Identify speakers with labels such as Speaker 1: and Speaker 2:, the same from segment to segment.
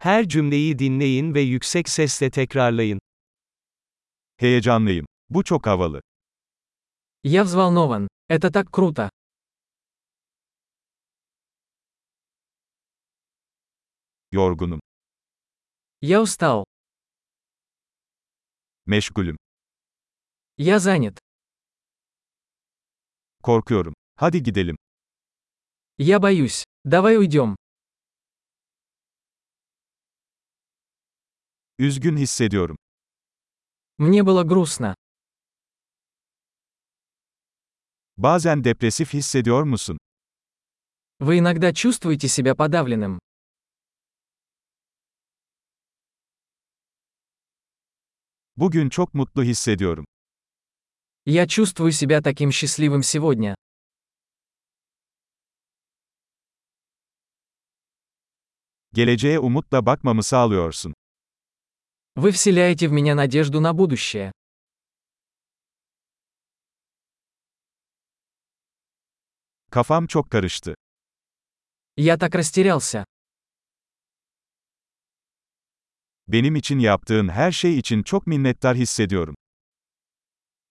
Speaker 1: Her cümleyi dinleyin ve yüksek sesle tekrarlayın.
Speaker 2: Heyecanlıyım. Bu çok havalı.
Speaker 3: Я взволнован. Это так круто.
Speaker 2: Yorgunum.
Speaker 3: Я устал.
Speaker 2: Meşgulüm.
Speaker 3: Я занят.
Speaker 2: Korkuyorum. Hadi gidelim.
Speaker 3: Я боюсь. Давай уйдем.
Speaker 2: Üzgün hissediyorum.
Speaker 3: Мне было грустно.
Speaker 2: Bazen depresif hissediyor musun?
Speaker 3: Вы иногда чувствуете себя подавленным.
Speaker 2: Bugün çok mutlu hissediyorum.
Speaker 3: Я чувствую себя таким счастливым сегодня.
Speaker 2: Geleceğe umutla bakmamı sağlıyorsun.
Speaker 3: Вы вселяете в меня надежду на будущее.
Speaker 2: Kafam çok karıştı.
Speaker 3: Я так растерялся.
Speaker 2: Benim için yaptığın her şey için çok minnettar hissediyorum.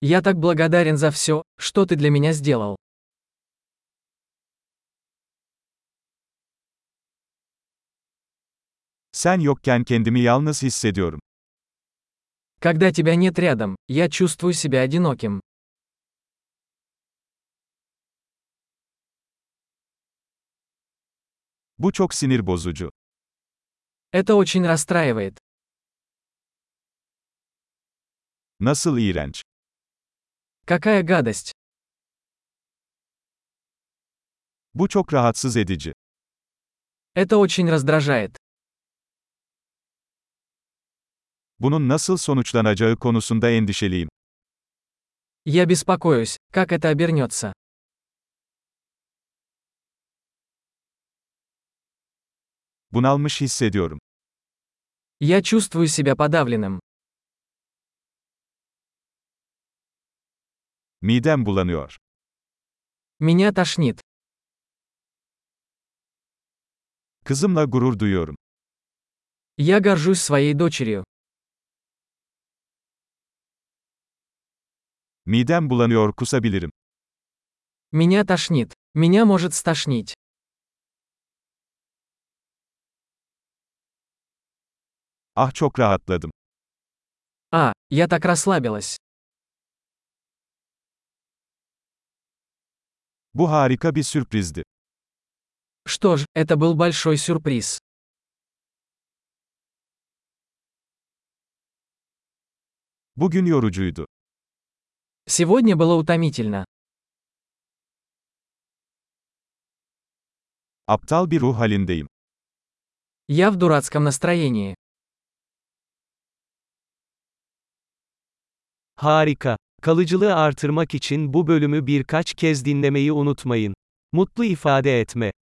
Speaker 3: Я так благодарен за все, что ты для меня сделал.
Speaker 2: Sen yokken kendimi yalnız hissediyorum.
Speaker 3: Когда тебя нет рядом, я чувствую себя одиноким.
Speaker 2: Bu çok sinir bozucu.
Speaker 3: Это очень расстраивает.
Speaker 2: Nasıl iğrenç.
Speaker 3: Какая гадость.
Speaker 2: Bu çok rahatsız edici.
Speaker 3: Это очень раздражает.
Speaker 2: Bunun nasıl sonuçlanacağı konusunda endişeliyim.
Speaker 3: Я беспокоюсь, как это обернется.
Speaker 2: Bunalmış hissediyorum.
Speaker 3: Я чувствую себя подавленным.
Speaker 2: Midem bulanıyor.
Speaker 3: Меня тошнит.
Speaker 2: Kızımla gurur duyuyorum.
Speaker 3: Я горжусь своей дочерью.
Speaker 2: Midem bulanıyor kusabilirim.
Speaker 3: Меня тошнит. Меня может стошнить.
Speaker 2: Ah çok rahatladım.
Speaker 3: А, я так расслабилась.
Speaker 2: Bu harika bir sürprizdi.
Speaker 3: Что ж, это был большой сюрприз.
Speaker 2: Bugün yorucuydu.
Speaker 3: Сегодня было утомительно.
Speaker 2: Aptal bir ruh halindeyim.
Speaker 3: Я в дурацком настроении.
Speaker 1: Harika. Kalıcılığı artırmak için bu bölümü birkaç kez dinlemeyi unutmayın. Mutlu ifade etme